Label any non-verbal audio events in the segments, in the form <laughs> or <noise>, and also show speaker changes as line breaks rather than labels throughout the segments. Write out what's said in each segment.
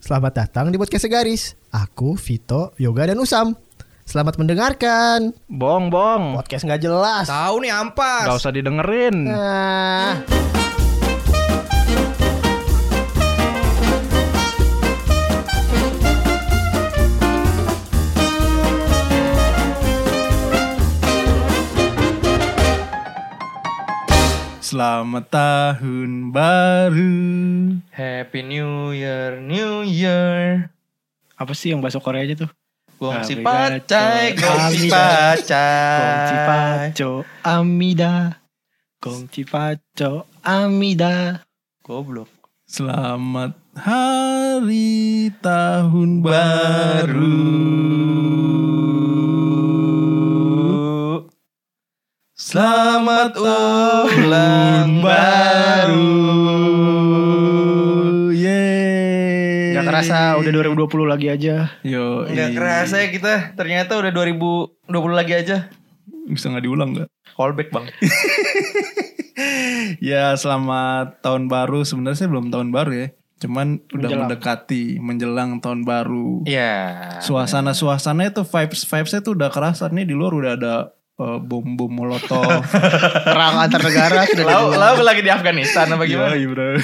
Selamat datang di podcast Segaris. Aku Vito, Yoga dan Usam. Selamat mendengarkan.
Bong, bong.
Podcast nggak jelas.
Tahu nih ampas.
Gak usah didengerin.
Nah,
Selamat tahun baru.
Happy New Year, New Year.
Apa sih yang bahasa Korea aja tuh?
Gong si
Kami
pacai,
gacor.
gong
Kami
si
Gong
pacai.
Cipaco Amida. Gong Cipaco Amida.
Goblok.
Selamat hari tahun baru. Selamat
ulang baru.
Yeay.
Gak kerasa udah 2020 lagi aja.
Yo,
Nggak kerasa ya kita. Ternyata udah 2020 lagi aja.
Bisa nggak diulang nggak?
Callback bang.
<laughs> Ya selamat tahun baru. Sebenarnya sih belum tahun baru ya. Cuman udah
Menjelang.
mendekati menjelang tahun baru.
Iya.
Suasana suasananya tuh vibes vibesnya tuh udah kerasa nih di luar udah ada bom bom molotov.
perang antar negara sudah
Lau,
dimulai.
lau lagi di Afghanistan <laughs> apa gimana?
Yoi, bro. <laughs>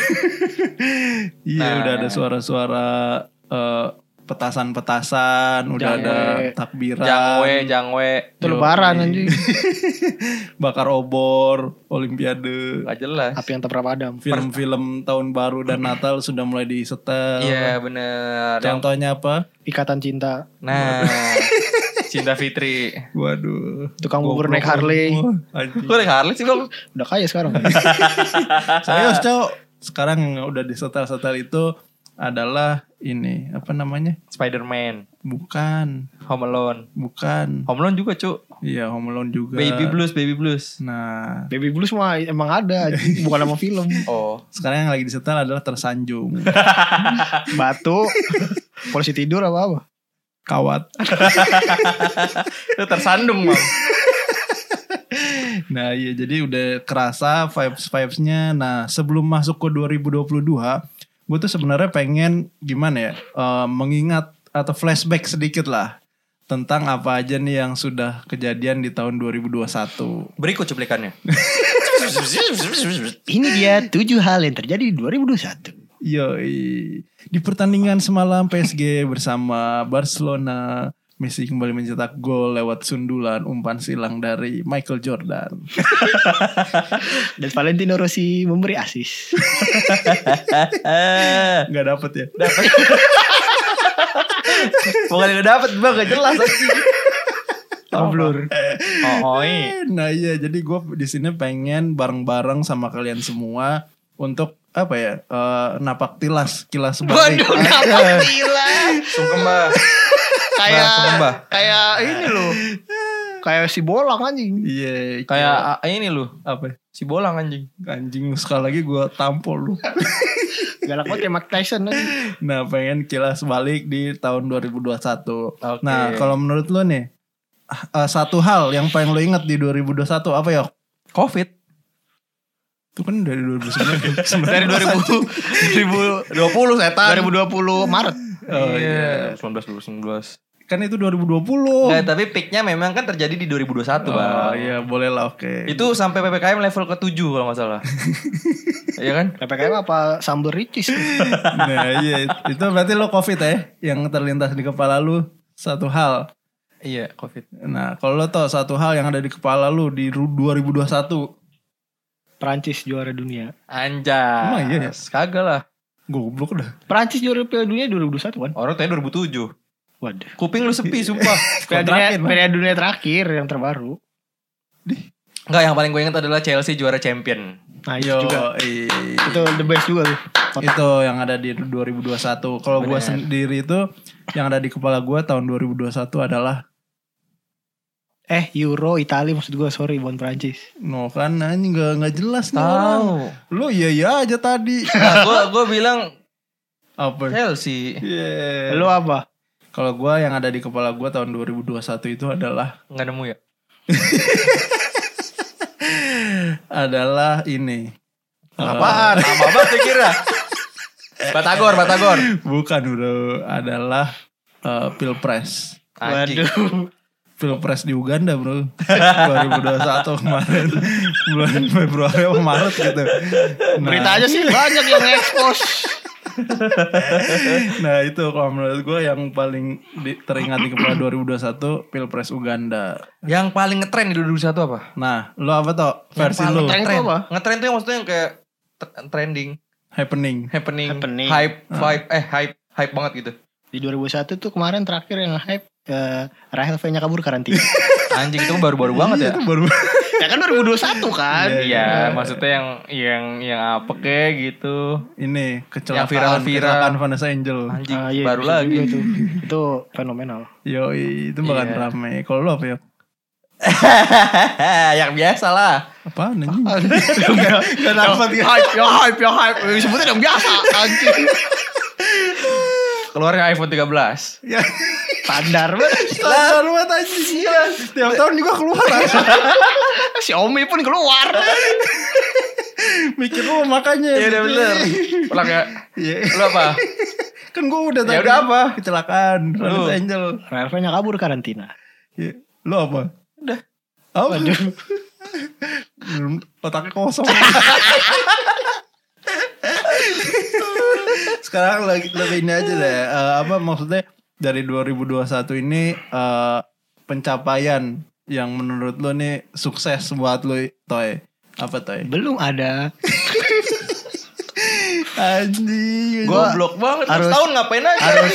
Iya
Nah.
udah ada suara-suara eh, petasan-petasan, udah
Jangan.
ada takbiran,
Jangwe, jangwe.
Itu lebaran anjing.
<laughs> bakar obor, olimpiade.
Gak jelas.
Api yang terperap padam.
film-film tahun baru dan Natal sudah mulai disetel.
Iya bener. Yang-
Contohnya apa?
Ikatan cinta.
<laughs> Nah, Cinta Fitri.
Waduh.
Tukang bubur
Goblok
naik Harley.
semua. Anjing.
Gue naik Harley sih bang.
Udah kaya sekarang.
Serius, Cok. Sekarang yang udah disetel-setel itu adalah ini, apa namanya?
Spiderman,
Bukan,
Home Alone.
bukan.
Home Alone juga cu.
Iya, Home Alone juga.
Baby Blues, Baby Blues.
Nah,
Baby Blues mah emang ada. anjing. Bukan sama film.
Oh.
sekarang yang lagi disetel adalah tersanjung.
Batu. Polisi tidur apa-apa.
Kawat.
Itu tersandung bang.
Nah iya jadi udah kerasa vibes-vibesnya Nah sebelum masuk ke 2022 Gue tuh sebenarnya pengen gimana ya eh, Mengingat atau flashback sedikit lah Tentang apa aja nih yang sudah kejadian di tahun 2021
Berikut cuplikannya.
Ini dia tujuh hal yang terjadi di 2021.
Yoi Di pertandingan semalam PSG <laughs> bersama Barcelona Messi kembali mencetak gol lewat sundulan umpan silang dari Michael Jordan. <laughs>
Dan Valentino Rossi memberi asis.
<laughs> Eh,
Gak dapet ya?
bukan yang dapet bang, gak jelas. anjing.
Tablur.
Oh, oi.
Eh, Nah iya, jadi gue di sini pengen bareng-bareng sama kalian semua untuk apa ya? eh, napak tilas, kilas balik.
Waduh, dapat gila.
Sungkem bah.
Kayak
Nah, Mbah.
kayak ini loh. Kayak si bolang anjing.
Iya,
Kayak ah, ini lu,
apa?
si bolang anjing.
Anjing sekali lagi gue tampol lu.
Galak banget kayak Mike Tyson anjing.
nah, pengen kilas balik di tahun 2021.
Oke.
Nah, kalau menurut lu nih ah, eh, satu hal yang paling lo inget di 2021 apa ya?
Covid
Itu kan dari 2019.
dari 2000 2020 setan.
2020 Maret.
Oh,
iya. 19 2019.
kan itu 2020.
Nggak, tapi peaknya memang kan terjadi di 2021 bang.
Oh iya, boleh lah oke.
Itu sampai PPKM level ke-7 kalau nggak
<laughs>
salah. Iya kan?
PPKM apa sambal ricis?
nah iya itu berarti lo covid ya yang terlintas di kepala lu satu hal
Iya, Covid.
nah kalau lo tau satu hal yang ada di kepala lu di ru- 2021
Prancis juara dunia.
Anjas.
Emang iya ya?
Kagak lah.
goblok dah
Prancis juara Piala Dunia 2021 kan?
Orang tanya 2007.
Waduh.
Kuping lu sepi,
<laughs>
sumpah.
Piala Dunia,
Kontrakin, Bang.
Eh, Piala Dunia terakhir yang terbaru.
Enggak, yang paling gue ingat adalah Chelsea juara champion.
Nah, itu
Yo,
juga.
i-
Itu the best juga tuh.
itu yang ada di 2021 kalau gua
Bener.
sendiri itu yang ada di kepala gua tahun 2021 adalah
Eh, Euro Italia maksud gue, sorry bukan Prancis.
no kan anjing nggak nggak jelas nih orang. lu iya iya aja tadi
<laughs>
Nah, gue gue bilang
apa
Chelsea
Iya.
Eh. Lu apa?
kalau gua yang ada di kepala gua tahun 2021 itu adalah
nggak nemu ya.
adalah ini. <laughs>
Apaan? Apa apa tuh kira? Batagor, Batagor.
Bukan bro, adalah eh, pilpres.
Anjing.
Waduh.
Pilpres di Uganda
<laughs>
bro 2021 kemarin Bulan Februari atau Maret gitu Nah,
Beritanya sih banyak yang expose.
Nah itu kalau menurut gue yang paling di- teringat di kepala 2021 Pilpres Uganda
Yang paling ngetren di 2021 apa?
Nah lo apa toh versi
Yang
lo
paling
Ngetren itu apa?
Ngetren tuh yang maksudnya yang kayak tr- trending,
happening
happening,
Happening. Ah.
hype, vibe, eh hype, hype banget gitu.
Di 2001 tuh kemarin terakhir yang hype eh, Rahel V-nya kabur karantina. <laughs>
Anjing itu baru-baru banget ya.
baru
kan ya kan 2021 kan.
<laughs> Iya, maksudnya yang yang yang apa kayak gitu.
ini kecelakaan
Yang viral-viral.
kecelakaan Vanessa Angel
Anjing,
Ah, iya,
baru
bisa
lagi.
juga Itu. itu fenomenal.
Yoi itu bahkan
Iya.
rame Kalau lo apa ya?
<laughs> yang biasa lah.
Apaan anjing? <laughs>
Gak dapat ya. Hype, ya hype, ya hype. Sebutnya yang biasa. Anjing.
Keluarnya iPhone
<laughs>
13.
Ya,
Standar banget.
standar banget anjing Gila. Tiap tahun juga keluar anjing.
Xiaomi pun keluar.
<laughs> Mikir lo makanya
<laughs> Iya udah bener. Pulang ya.
<laughs> Iya.
Lu apa?
Kan gue udah
Ya udah apa?
Kecelakaan Vanessa Angel
Rahel V-nya kabur karantina.
Iya. Lo apa?
Udah.
Apa? Belum- <laughs> Otaknya kosong <laughs> Sekarang lagi lebih ini aja deh Eh, Apa maksudnya Dari 2021 ini eh, Pencapaian Yang menurut lo nih Sukses buat lo Toy Apa Toy?
Belum ada.
Anjing
Goblok banget.
harus-
Harus tahun ngapain aja? <laughs>
Harus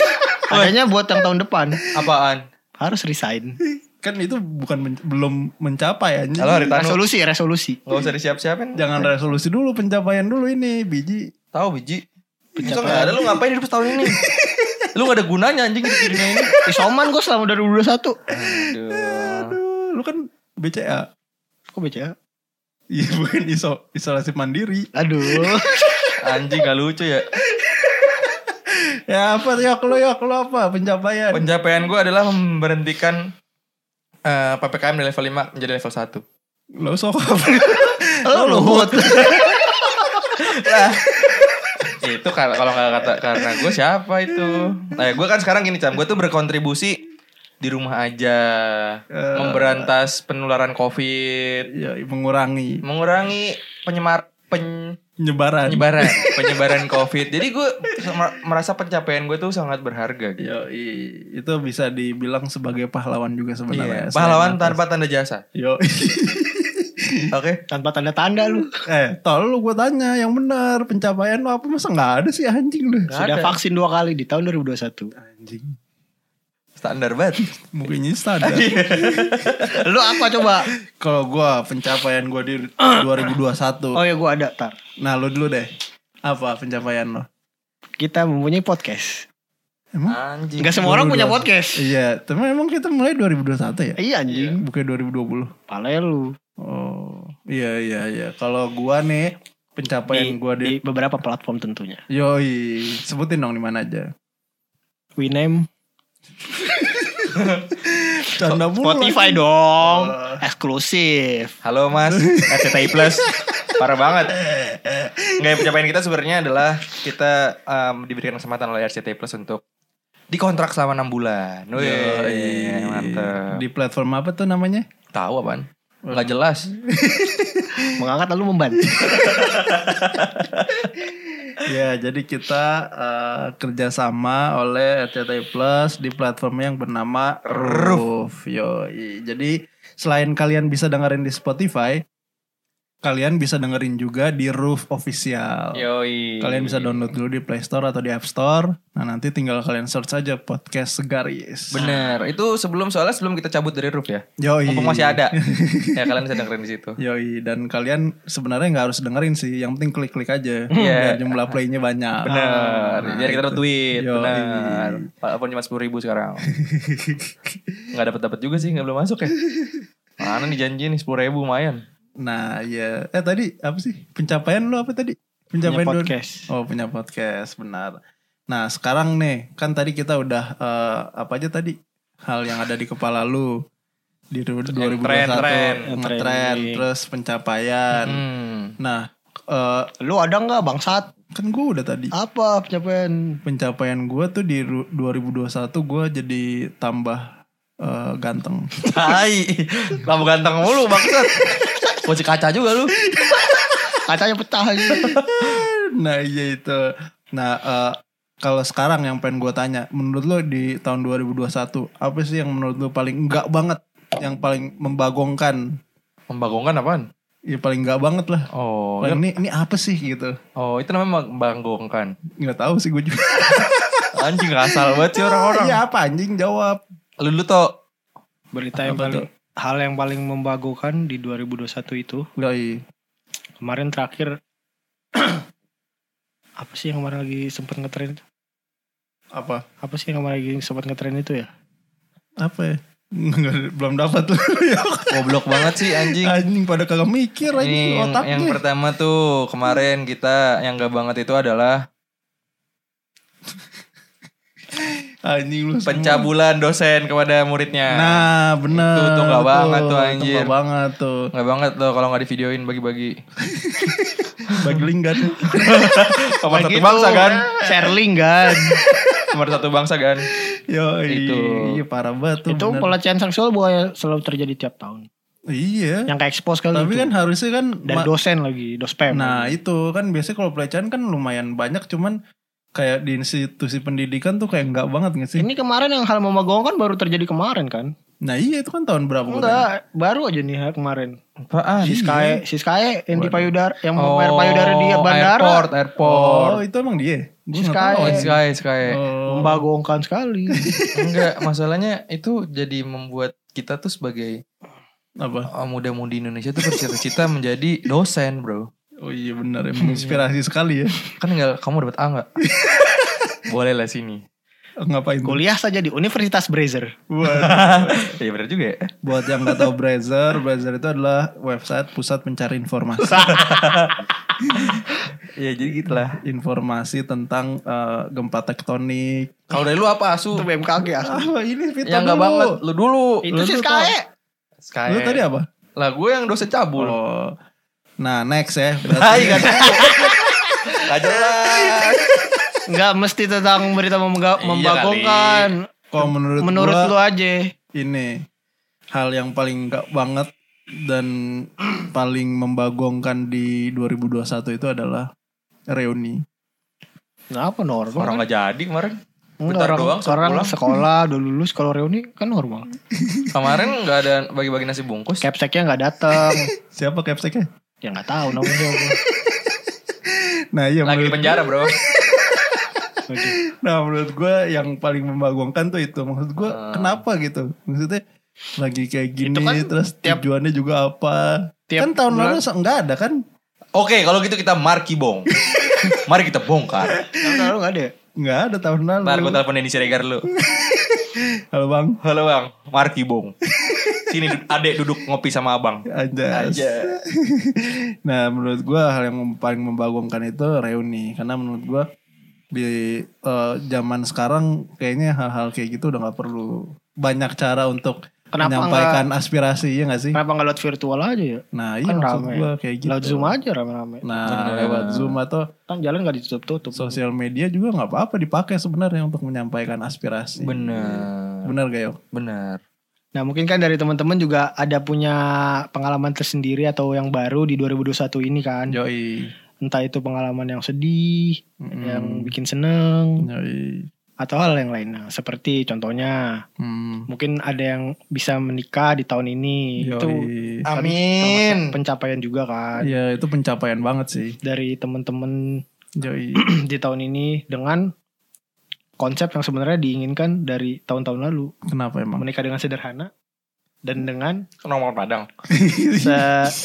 adanya buat yang tahun depan.
Apaan?
Harus resign.
Kan itu bukan men- belum mencapai anjing
Halo hari Tanu.
Resolusi, ya, resolusi.
Gak usah disiap-siapin.
Jangan resolusi dulu Pencapaian dulu ini Biji
Tahu biji. Besok gak ada lu ngapain hidup setahun ini? lu gak ada gunanya anjing hidup di dunia ini.
Isoman gue selama 2021.
Aduh.
Aduh, Lu kan BCA
Kok ya? baca?
<laughs> Iya bukan iso, isolasi mandiri
Aduh.
Anjing gak lucu ya.
Ya apa yok lo yok lo apa pencapaian?
Pencapaian gue adalah memberhentikan eh, PPKM dari level 5 menjadi level
lo
1.
sok apa?
Lo
<laughs>
Luhut.
itu kalau kalau nggak kata karena gue siapa itu nah gue kan sekarang gini cam gue tuh berkontribusi di rumah aja
Eh.
memberantas penularan covid
ya mengurangi
mengurangi penyemar pen-
penyebaran.
penyebaran <laughs> penyebaran covid jadi gue merasa pencapaian gue tuh sangat berharga gitu
Yo itu bisa dibilang sebagai pahlawan juga sebenarnya.
Iya,
Selain
pahlawan
atas-
tanpa tanda jasa
Yo
oke
Tanpa tanda-tanda lu.
<laughs> eh tol lu gue tanya yang benar pencapaian lo apa masa nggak ada sih anjing lu?
Nggak
Sudah
ada.
vaksin dua kali di tahun 2021.
Anjing
standar banget
mungkin standar.
Lu apa coba?
Kalau gue pencapaian gue di 2021.
Oh ya gue ada tar.
Nah lo dulu deh apa pencapaian lo?
Kita mempunyai podcast.
Hmm?
Emang?
anjing
Enggak semua orang punya
2021.
podcast.
Iya, tapi emang kita mulai 2021 ya?
Iya anjing.
Bukan 2020.
Pale lu.
Oh, iya iya iya. Kalau gua nih pencapaian
Di,
gua
di
di,
beberapa platform tentunya.
Yoi, sebutin dong di mana aja.
Winame,
Canda mulu.
Spotify dong.
Oh.
Eksklusif.
Halo <laughs> Mas, RCTI Plus. Parah banget. Nggak yang pencapaian kita sebenarnya adalah kita em, diberikan kesempatan oleh RCTI Plus untuk dikontrak selama 6 bulan. Wih,
Iya,
Yoi.
mantep.
Di platform apa tuh namanya?
Tahu apaan? Nggak jelas.
Mengangkat lalu membantu.
ya, jadi kita eh, kerjasama oleh RCTI Plus di platform yang bernama Roof. Yoi. Jadi selain kalian bisa dengerin di Spotify, kalian bisa dengerin juga di Roof Official.
Yoi.
Kalian bisa download dulu di Play Store atau di App Store. Nah, nanti tinggal kalian search aja podcast Segaris.
Bener. Itu sebelum soalnya sebelum kita cabut dari roof ya.
Yoi.
Mumpung masih ada. ya kalian bisa dengerin di situ.
<laughs> Yoi, dan kalian sebenarnya nggak harus dengerin sih, yang penting klik-klik aja biar
Iya.
jumlah playnya banyak.
Bener.
Nah,
Jadi kita
itu.
retweet.
Yoi.
Bener. Walaupun cuma 10 ribu
<laughs>
sekarang. Nggak dapat dapat juga sih. Nggak belum masuk ya. Mana nih janji nih 10 ribu lumayan.
Nah, ya. Eh tadi apa sih? Pencapaian lu apa tadi? Pencapaian
Punya
lu-
podcast.
Oh, punya podcast, benar. Nah, sekarang nih, kan tadi kita udah eh, apa aja tadi? Hal yang ada di kepala lu di 2021
tren, tren.
ngetren, terus pencapaian.
Hmm.
Nah, eh,
Lu ada nggak bangsat?
kan gue udah tadi
Apa pencapaian?
pencapaian gue tuh di ru- 2021 gue jadi tambah eh, ganteng.
Tai. Kamu ganteng mulu maksud. Kunci kaca juga lu.
Kacanya pecah aja.
nah iya itu. Nah eh, kalau sekarang yang pengen gue tanya, menurut lo di tahun 2021 apa sih yang menurut lo paling enggak banget, yang paling membagongkan,
Membagongkan apaan?
ya paling enggak banget lah.
Oh,
Paling
itu-
ini ini apa sih gitu?
oh itu namanya membagongkan.
Nggak tahu sih gue juga.
Anjing ngasal banget sih orang-orang.
Iya apa anjing jawab?
Lu lu tau
Berita yang
Apa
paling hal yang paling membagokan di 2021 itu
Lai.
kemarin terakhir <clears throat> apa sih yang kemarin lagi sempat ngetren itu?
Apa?
Apa sih yang kemarin lagi sempat ngetren itu ya?
Apa ya? Nggak- belum dapat lu
goblok banget sih anjing.
anjing pada kagak mikir anjing
Ini yang,
otaknya
yang pertama tuh kemarin kita yang gak banget itu adalah
anjing lu semua.
pencabulan dosen kepada muridnya.
Hmm. Nah, bener.
Itu tuh nggak banget tuh,
Itu
anjir.
nggak banget tuh.
Gak banget loh kalau gak di videoin bagi-bagi.
Bagi link kan.
Nomor satu
gitu.
bangsa kan?
Sherling
<laughs>
kan.
Nomor satu bangsa kan?
Yo,
Itu.
iya parah banget tuh.
itu
bener.
pelecehan seksual bukan selalu terjadi tiap tahun.
Iya.
Yang kayak expose kali
Tapi
itu.
kan harusnya kan
dari
ma-
dosen lagi, dospem.
Nah, itu kan biasanya kalau pelecehan kan lumayan banyak cuman kayak di institusi pendidikan tuh kayak nggak banget nggak sih?
ini kemarin yang hal memagongkan baru terjadi kemarin kan?
Nah, iya itu kan tahun berapa? gua tanya?
Enggak, baru aja nih ya, kemarin.
Apaan?
Si Sky, si Sky yang di payudara, yang mau bayar
Oh,
payudara di bandara.
Airport,
Oh,
airport.
itu emang dia.
Si
Gua nggak
Sky.
tahu,
Oh,
anjing.
sky, sky.
Oh.
Membagongkan kan sekali.
Enggak, masalahnya itu jadi membuat kita tuh sebagai
apa?
uh, muda-mudi Indonesia tuh bercita-cita menjadi dosen, bro.
Oh iya benar, emang inspirasi
<laughs>
sekali ya.
Kan enggak, kamu dapat A enggak? Boleh lah sini.
Ngapain? tuh?
Kuliah saja di Universitas Brazer.
Waduh.
<laughs>
Iya bener juga ya.
Buat yang nggak tahu Brazzer, Brazzer itu adalah website pusat pencari informasi.
Iya jadi gitulah.
informasi tentang eh, gempa tektonik.
Kalau dari lu apa asu?
Itu BMKG ya.
Ah, ini Vito
Yang enggak
dulu.
banget lu dulu.
Itu
Lu
si
tuh
Sky.
Sky.
Lu tadi apa?
Lah gue yang dosen cabul.
Oh. Nah, next ya.
Hai
Berarti
kan. Gak jelas.
Enggak mesti tentang berita memega-
Iya
membagongkan.
kalau menurut,
kan. Menurut
gua,
lu aja.
ini hal yang paling nggak banget dan paling membagongkan di 2021 itu adalah reuni.
Kenapa normal?
<laughs> Orang gak jadi kemarin.
Enggak,
bentar
orang,
doang, suruh
orang
pulang.
sekolah udah lulus kalau reuni kan normal.
Kemarin gak ada bagi-bagi nasi bungkus.
Capseknya nggak datang.
Siapa capsek-nya?
ya nggak tahu namanya. apa.
Nah, iya
Lagi di
menurut,
penjara bro.
nah, menurut gue yang paling membagongkan tuh itu. Maksud gue kenapa gitu? Maksudnya lagi kayak
Ah.
gini
Itu kan
terus
tiap-
tujuannya juga apa?
Tiap
kan tahun
bulan-
lalu se- nggak ada kan?
Oke kalau gitu kita marki bong. Mari kita bongkar.
Tahun lalu nggak ada.
Nggak ada tahun lalu.
Ntar gue telepon Denny Siregar lu.
Halo bang.
Halo bang, marki bong. Sini du- adek duduk ngopi sama abang.
Anjas. <laughs> nah menurut gua hal yang mem- paling membagongkan itu reuni. Karena menurut gua di eh, zaman sekarang kayaknya hal-hal kayak gitu udah nggak perlu banyak cara untuk
Kenapa
menyampaikan aspirasi ya nggak sih?
Kenapa nggak lewat virtual aja ya?
Nah iya
Kan
maksud
rame.
gua kayak gitu.
Lewat Zoom aja rame-rame.
Nah
Bener.
lewat Zoom atau
Kan jalan nggak ditutup-tutup.
sosial media juga nggak apa-apa dipakai sebenarnya untuk menyampaikan aspirasi.
Bener.
Bener gak yo?
Bener.
Nah mungkin kan dari teman-teman juga ada punya pengalaman tersendiri atau yang baru di 2021 ini kan.
Iya. Yoi.
Entah itu pengalaman yang sedih,
Mm-mm.
yang bikin seneng,
Yoi.
atau hal yang lainnya. Seperti contohnya,
Hmm.
mungkin ada yang bisa menikah di tahun ini. Itu
Yoi.
kan
Amin.
pencapaian juga kan.
Iya itu pencapaian banget sih.
Dari teman-teman <clears throat>
Yoi.
di tahun ini dengan konsep yang sebenarnya diinginkan dari tahun-tahun lalu.
Kenapa emang?
Menikah dengan sederhana dan
<laughs>
dengan
Nomor padang.
se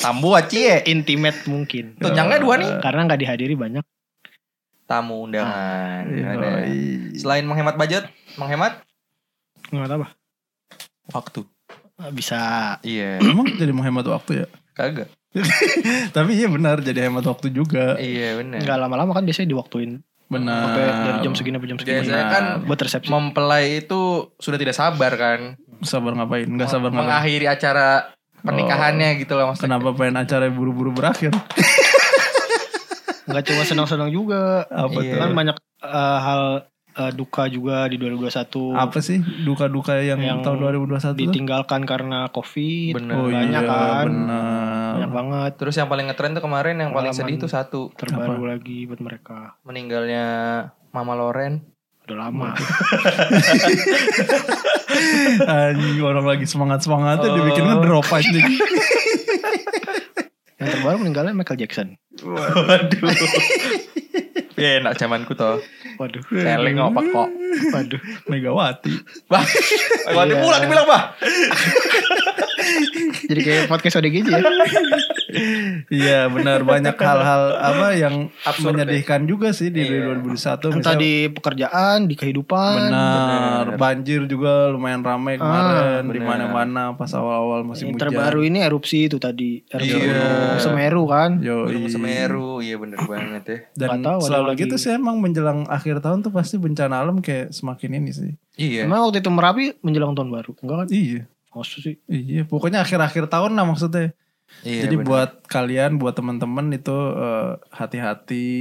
Tambu aci
intimate mungkin.
Tunjangnya dua nih.
Karena nggak dihadiri banyak.
Tamu
Ah, Iya,
undangan. Ada.
Yoi.
Selain menghemat budget, menghemat
Nggak apa.
waktu.
Bisa.
Iya.
Emang jadi menghemat waktu ya?
Kagak.
Tapi iya benar jadi hemat waktu juga. Ya.
Iya bener.
Nggak lama-lama kan biasanya diwaktuin.
Benar.
Sampai dari jam segini sampai jam segini.
Biasanya kan
Buat resepsi.
mempelai itu sudah tidak sabar kan.
Sabar ngapain? Enggak sabar ngapain?
Mengakhiri acara pernikahannya gitu loh maksudnya.
Kenapa pengen acara buru-buru berakhir?
nggak cuma senang-senang juga.
Apa
Iya.
tuh?
Kan banyak eh, hal eh, duka juga di 2021.
Apa sih duka-duka yang,
Yang
tahun 2021 tuh? Oh iya,
ditinggalkan karena covid
Bener.
banyak kan
benar.
banyak banget
Terus yang paling ngetren tuh kemarin yang paling
Pengalaman.
sedih tuh satu
terbaru lagi buat mereka
meninggalnya Mama Loren.
udah lama
Anjing orang lagi semangat-semangatnya
Oh.
dibikin ngedrop anjing.
yang terbaru meninggalnya Michael Jackson
Waduh. <laughs> ya enak zamanku toh.
waduh
Teleng ngopak kok.
waduh
Megawati.
Bah. Lagi
Iya.
pula dibilang, Bah.
jadi kayak podcast ODGJ ya
Iya benar banyak hal-hal apa yang
Absurd,
menyedihkan juga sih di
Iya.
2021
entah
misalnya-
di pekerjaan di kehidupan
benar
Benar.
banjir juga lumayan ramai kemarin
benar.
di mana-mana pas awal-awal musim
Ah, yang
hujan.
terbaru ya. ini erupsi itu tadi erupsi
Iya.
Gunung Semeru kan
Yo,
Gunung Semeru, iya bener banget ya.
dan
Nggak tahu ada
selalu
lagi.
gitu sih emang menjelang akhir tahun tuh pasti bencana alam kayak semakin ini sih.
Iya.
Emang waktu itu Merapi menjelang tahun baru Enggak kan
Iya.
Maksud sih
Iya, pokoknya akhir-akhir tahun lah maksudnya.
Iya,
Jadi
bener.
buat kalian, buat teman-teman itu eh, hati-hati.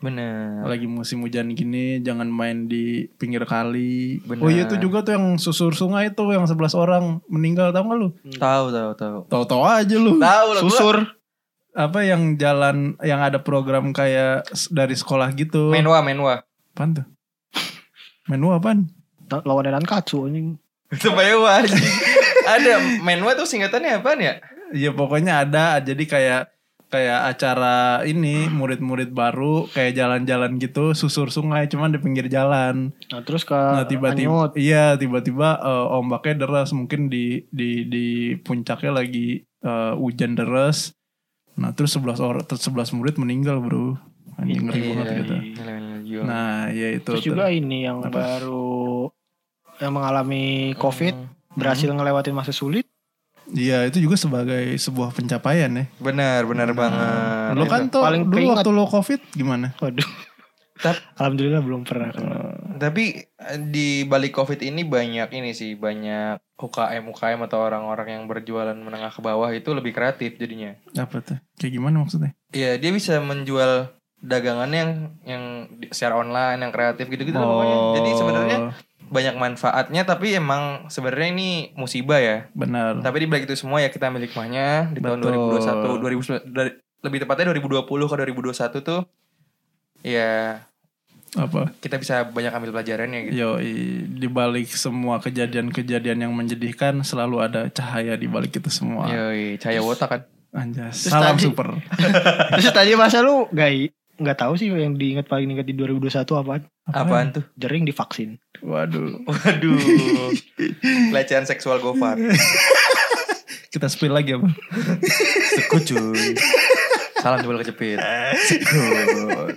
bener.
Nah.
Lagi musim hujan gini, jangan main di pinggir kali.
Benar.
Oh iya itu juga tuh yang susur sungai tuh yang 11 orang meninggal tau gak lu?
Tahu tahu tahu.
Tahu-tahu aja lu.
Tahu lah.
Susur
Apa yang jalan yang ada program kayak s- dari sekolah gitu?
gua. Menwa menwa.
Apaan tuh? Menu apaan?
Ta- Lawannya Nankatsu anjing
Itu menwa. anjing. <laughs> Ada menwa tuh singkatannya apaan ya?
Iya pokoknya ada jadi kayak kayak acara ini murid-murid baru kayak jalan-jalan gitu susur sungai cuman di pinggir jalan.
Nah terus ke
Nah tiba-tiba
Anyut.
iya tiba-tiba eh, ombaknya deras mungkin di di di puncaknya lagi eh, hujan deras. Nah terus 11 orang terus 11 murid meninggal, Bro. Anjing ngeri banget
Iya,
gitu.
gila, gila, gila.
Nah, ya itu.
Terus
tuh.
juga ini yang
Apa?
baru Yang mengalami covid
Hmm.
Hmm.
Mm-hmm.
Berhasil ngelewatin masa sulit
Iya, itu juga sebagai sebuah pencapaian ya.
Benar, benar banget.
Lo kan tuh
Paling
dulu
keringat.
waktu lo Covid gimana?
Waduh
Tap-
<laughs> Alhamdulillah belum pernah
Tapi eh, di balik Covid ini banyak ini sih, banyak UKM UKM atau orang-orang yang berjualan menengah ke bawah itu lebih kreatif jadinya.
Apa tuh? Kayak gimana maksudnya?
Iya, dia bisa menjual dagangannya yang yang di- secara online, yang kreatif gitu-gitu lah Gitu pokoknya.
Oh,
Jadi sebenarnya banyak manfaatnya tapi emang sebenarnya ini musibah ya.
benar.
Tapi di balik itu semua ya kita ambil hikmahnya di tahun
Betul.
2021, 2000 dari- lebih tepatnya 2020 ke 2021 tuh ya
Apa?
kita bisa banyak ambil pelajarannya gitu.
Yo, di balik semua kejadian-kejadian yang menyedihkan selalu ada cahaya di balik itu semua.
Yoi, Iya, cahaya wota kan.
Terus
Anjas. Salam
tadi-
super.
Terus tadi masa lu Gak nggak tahu sih yang diingat paling ingat di 2021 apaan
Apaan tuh?
jering divaksin
Waduh,
Waduh.
<laughs>
Pelecehan seksual Gofar.
kita spill lagi apa?
Sekut cuy. Salam jebol kejepit. Sekut.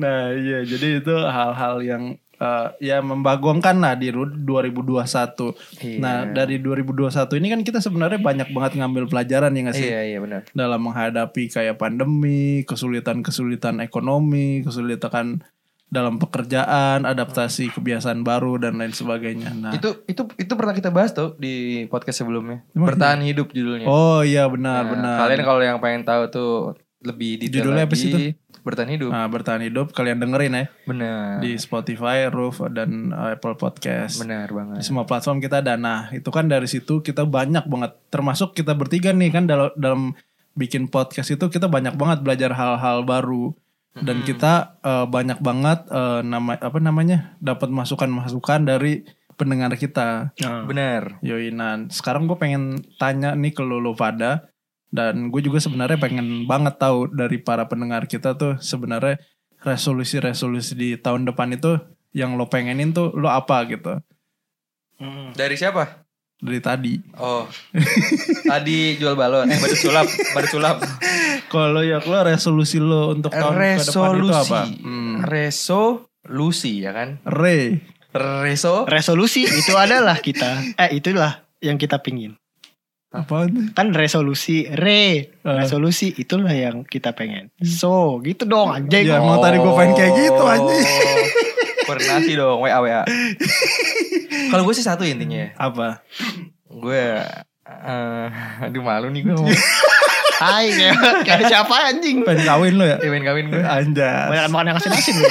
Nah, iya jadi itu hal-hal yang eh, ya membagongkan lah di ru- 2021.
Iya.
Nah, dari 2021 ini kan kita sebenarnya banyak banget ngambil pelajaran ya nggak sih?
Iya, iya benar.
dalam menghadapi kayak pandemi, kesulitan-kesulitan ekonomi, kesulitan dalam pekerjaan, adaptasi kebiasaan baru dan lain sebagainya. Nah,
Itu itu itu pernah kita bahas tuh di podcast sebelumnya.
Emang
Bertahan hidup judulnya.
oh iya benar
Nah,
benar.
Kalian kalau yang pengen tahu tuh lebih detail
Judulnya apa
lagi.
sih tuh?
Bertahan hidup.
Nah, bertahan hidup kalian dengerin ya
Benar.
di Spotify, Roof dan uh, Apple Podcast.
Benar
Di
banget.
semua platform kita ada. Nah, itu kan dari situ kita banyak banget termasuk kita bertiga nih kan dalam dalam bikin podcast itu kita banyak banget belajar hal-hal baru dan kita eh, banyak banget eh, nama apa namanya? dapat masukan-masukan dari pendengar kita.
Benar.
Yoinan. Sekarang gue pengen tanya nih ke lo lo pada dan gue juga sebenarnya pengen banget tahu dari para pendengar kita tuh sebenarnya resolusi-resolusi di tahun depan itu yang lo pengenin tuh lo apa gitu Hmm.
Dari siapa?
dari tadi. <laughs>
Oh. Tadi jual balon, eh badut sulap, badut sulap.
Kalau ya lo resolusi lo untuk tahun ke depan itu apa?
resolusi
Hmm.
resolusi ya kan
Re.
reso
resolusi itu adalah kita eh itulah yang kita pingin
Apaan tuh?
kan resolusi re
Eh. Hmm.
resolusi itulah yang kita pengen so gitu dong anjing
Ya, emang tadi gue pengen kayak gitu aja.
Oh. koordinasi dong wa wa kalau gue sih satu intinya
Apa?
gue eh aduh malu nih gue
Tai kayak kayak ada siapa anjing.
Pengen kawin lo ya?
Kawin kawin gue.
Anjas.
Banyak makan yang asin-asin ya. lu.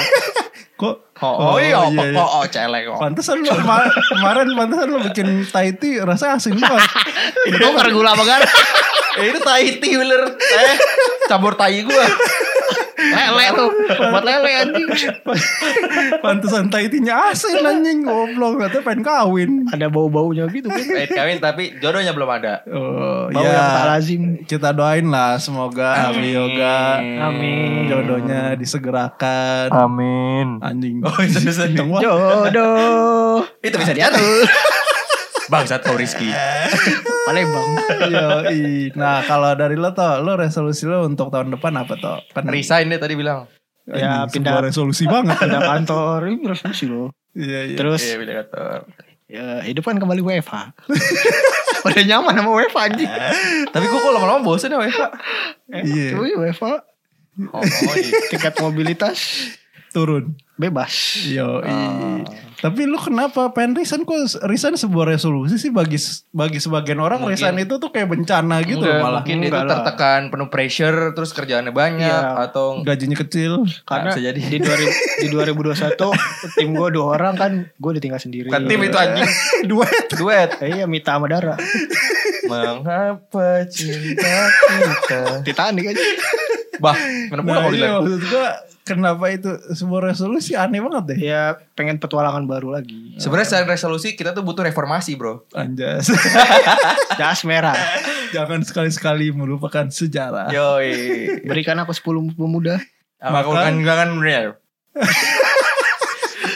Kok?
kan, Oh, oh, iya,
iya,
kok
iya.
kok oh, celeng kok.
Pantesan lu kemar- kemarin pantesan lu bikin Thai tea rasanya asin banget.
Itu tuh karena gula apa kan?
<laughs> Eh, itu tai tea bener. Eh, campur tai gue.
Lele tuh. Buat lele anjing.
Pantesan Thai tea-nya asin anjing goblok katanya pengen kawin.
Ada bau-baunya gitu kan.
Pengen Eh, kawin tapi jodohnya belum ada.
Oh,
Bau yang tak lazim.
Kita doain lah semoga Abi Yoga
Amin.
jodohnya disegerakan.
Amin.
Anjing.
Oh, itu bisa di-
Kenceng banget.
Jodoh.
Itu bisa diatur. <laughs> Bangsat kau Rizky.
Palembang.
Yoi. Nah, kalau dari lo toh, lo resolusi lo untuk tahun depan apa toh? Kan
Resign dia tadi bilang.
Ya,
Anjing,
pindah-
sebuah resolusi banget. ya.
<laughs>
Pindah kantor. Ini resolusi loh.
Iya, iya.
Terus
Iya, bilang kantor.
ya, hidup kan kembali WFH. <laughs> Udah nyaman sama WFH anjing.
Tapi gue kok lama-lama bosen ya Weva.
Iya.
Cuy WFH.
Oh, oh, iya.
Tingkat mobilitas
Turun.
bebas.
Yoi.
Ah.
Tapi lu kenapa pengen resign kok resign sebuah resolusi sih bagi bagi sebagian orang
Mungkin.
resign itu tuh kayak bencana gitu
Enggak,
malah.
mungkin dia tuh
Enggak lah.
tertekan penuh pressure terus kerjaannya banyak
Iya.
atau
Gajinya kecil.
Karena
bisa jadi.
di 2000 di 2021 tim gue dua orang kan gue ditinggal sendiri.
bukan Kan tim
Iya.
itu anjing duet duet
Eh, iya Mita sama Dara.
mengapa cinta kita
Titanic aja.
bah kenapa
Nah, iya,
kalau bilang
maksud gua kenapa itu sebuah resolusi aneh banget
Iya.
deh.
Ya pengen petualangan baru lagi.
sebenarnya selain resolusi kita tuh butuh reformasi bro <laughs>
Anjas.
Das merah.
Jangan sekali-sekali melupakan sejarah.
Iya. yoi
Berikan aku 10 pemuda.
maka
Maka-
akan guncangkan dunia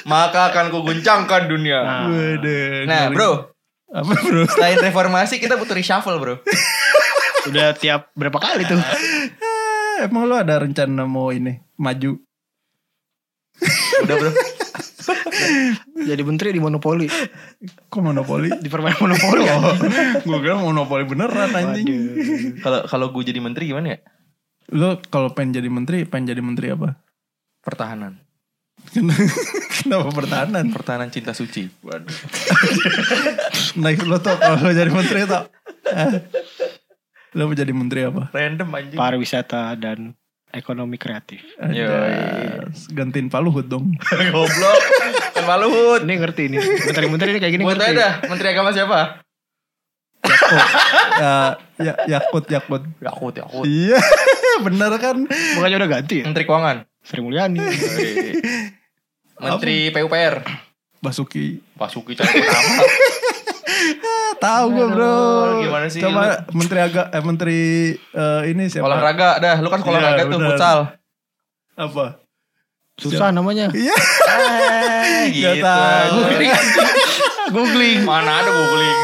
maka akan kuguncangkan dunia
Waduh,
nah
ngeri.
bro
Apa bro?
selain reformasi kita butuh reshuffle bro
Udah tiap berapa kali tuh?
Eh, Emang lu ada rencana mau ini maju?
udah bro
Jadi menteri di monopoli.
Kok <laughs> monopoli?
Di permen monopoli.
Oh, gue kira monopoli beneran anjing.
Waduh.
kalau kalau gue jadi menteri gimana ya
Lu kalau pengen jadi menteri, pengen jadi menteri apa?
pertahanan
Kenapa pertahanan?
pertahanan cinta suci waduh
Naik lo tuh kalau lo jadi menteri tuh. Lo mau jadi menteri apa?
random anjing
Pariwisata dan ekonomi kreatif.
Ada- Gantiin Pak Luhut dong.
<laughs>
<laughs>
Goblok. Kan maluhut.
Ini ngerti nih. Menteri-menteri ini kayak gini
Buat
ngerti.
aja dah, Menteri Agama siapa?
Yakut. Ya, ya, yakut, yakut.
Yakut, Yakut.
Iya, <laughs> bener kan?
Bukannya udah ganti ya?
Iya. Menteri Keuangan.
Sri Mulyani.
Menteri PUPR.
Basuki.
Pasuki calon pertama.
Ah, Tahu gue bro.
Aduh, gimana sih
Coba menteri agak, eh, menteri eh, ini siapa?
<laughs> Olahraga dah, lu kan sekolah
Iya,
olahraga tuh
bener.
futsal.
Apa?
Susah namanya.
Iya.
Eh, Gitu.
tahu.
Googling. <laughs> Googling. Mana ada googling.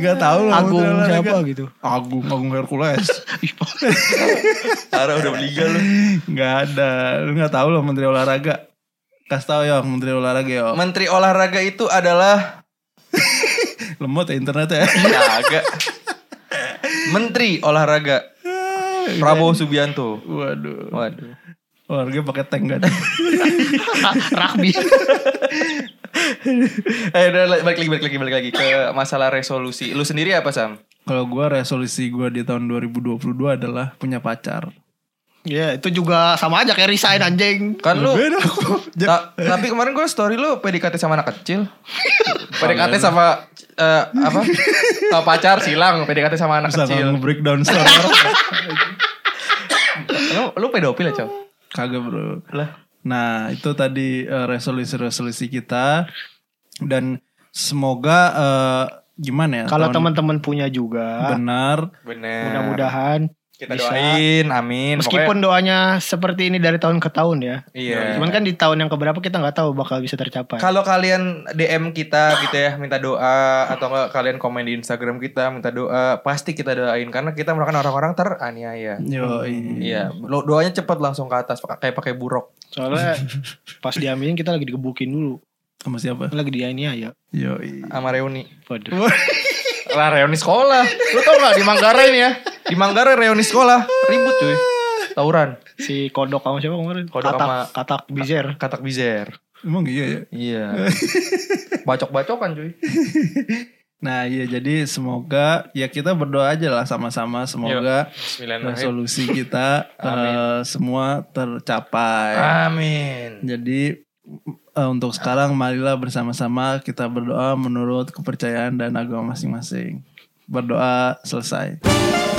Gak tahu lo.
Agung
menteri olahraga.
siapa gitu.
Agung, Agung <laughs> Hercules.
Ara udah beliga lu.
Gak ada. Lu gak tahu lo menteri olahraga. Kasih tahu ya menteri olahraga ya.
Menteri olahraga itu adalah
Lemot ya internet ya.
Ya, agak. Menteri olahraga
Ah, iya.
Prabowo Subianto.
Waduh.
Waduh.
Olahraga pakai tank gak ada.
Rugby.
<laughs> Eh udah balik lagi balik lagi balik lagi ke masalah resolusi. Lu sendiri apa Sam?
Kalau gua resolusi gua di tahun 2022 adalah punya pacar.
Ya itu juga sama aja kayak resign anjing.
Kan lu
Beda kok. <laughs> Ja-
Ta-
Ya.
tapi kemarin gue story lu PDKT sama anak kecil.
<laughs>
PDKT sama eh, apa? Sama pacar silang, PDKT sama anak
Bisa
kecil.
nggak breakdown story orang?
Lu, lu pedofil ya, Cok?
Kagak bro.
Lah.
Nah itu tadi eh, resolusi-resolusi kita. Dan semoga eh, gimana ya.
Nah,
Kalau
tahun
teman-teman punya juga,
Benar.
Bener.
mudah-mudahan
kita
bisa.
doain, amin.
meskipun doanya seperti ini dari tahun ke tahun ya.
Pokoknya- iya.
Cuman kan di tahun yang keberapa kita nggak tahu bakal bisa tercapai.
kalau kalian DM kita gitu ya, minta doa atau nggak kalian komen di Instagram kita minta doa, pasti kita doain karena kita merupakan orang-orang teraniaya.
Yoi.
Iya, lo doanya cepat langsung ke atas kayak pakai buruk.
Soalnya
<laughs>
pas diambilin kita lagi digebukin dulu,
Sama siapa?
lagi dia ini ya.
Yoi.
sama reuni.
Waduh.
Lah reuni sekolah. Lu tau gak di Manggarai nih ya? Di Manggarai reuni sekolah. Ribut cuy. Tawuran.
Si kodok sama siapa kemarin?
Kodok
katak,
sama-
katak bizer.
Katak bizer.
Emang iya ya?
Iya. Bacok-bacokan cuy.
Nah iya jadi semoga ya kita berdoa aja lah sama-sama semoga
Bismillahirrahmanirrahim.
resolusi kita eh, semua
Ah.
tercapai.
Amin.
Jadi eh, untuk sekarang marilah bersama-sama kita berdoa menurut kepercayaan dan agama masing-masing. Berdoa selesai.